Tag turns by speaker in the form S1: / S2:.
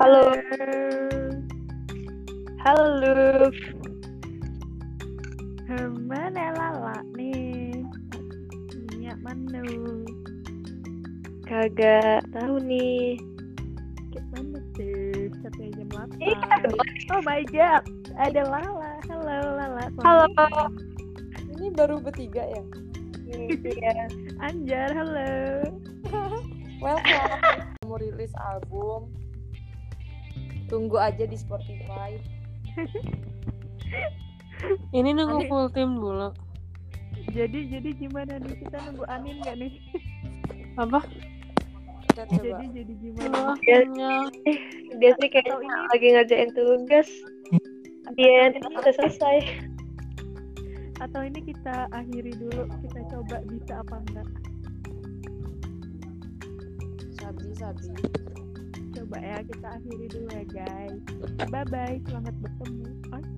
S1: Halo. Halo, Luf.
S2: Mana lala nih? Minyak mana?
S1: Kagak tahu nih.
S2: Kayak mana tuh? Sampai jam 8.
S1: Ini kita doang.
S2: Oh my god, ada lala. Halo lala. Sorry.
S1: Halo.
S3: Ini baru bertiga ya?
S1: Iya.
S2: Anjar, halo.
S3: Welcome. Mau rilis album. Tunggu aja di Spotify.
S4: Ini nunggu
S2: Nanti-
S4: full tim dulu.
S2: Jadi jadi gimana nih kita nunggu Anin gak nih?
S4: Apa?
S3: Kita coba.
S2: Jadi jadi gimana?
S4: Oh,
S1: Iya.
S4: kenyang.
S1: Dia sih kayaknya lagi ngerjain tugas. Dia nanti udah selesai.
S2: Atau ini kita akhiri dulu. Kita coba bisa apa enggak?
S3: Sabi, sabi.
S2: Coba ya kita akhiri dulu ya guys. Bye bye. Selamat bertemu. Oh,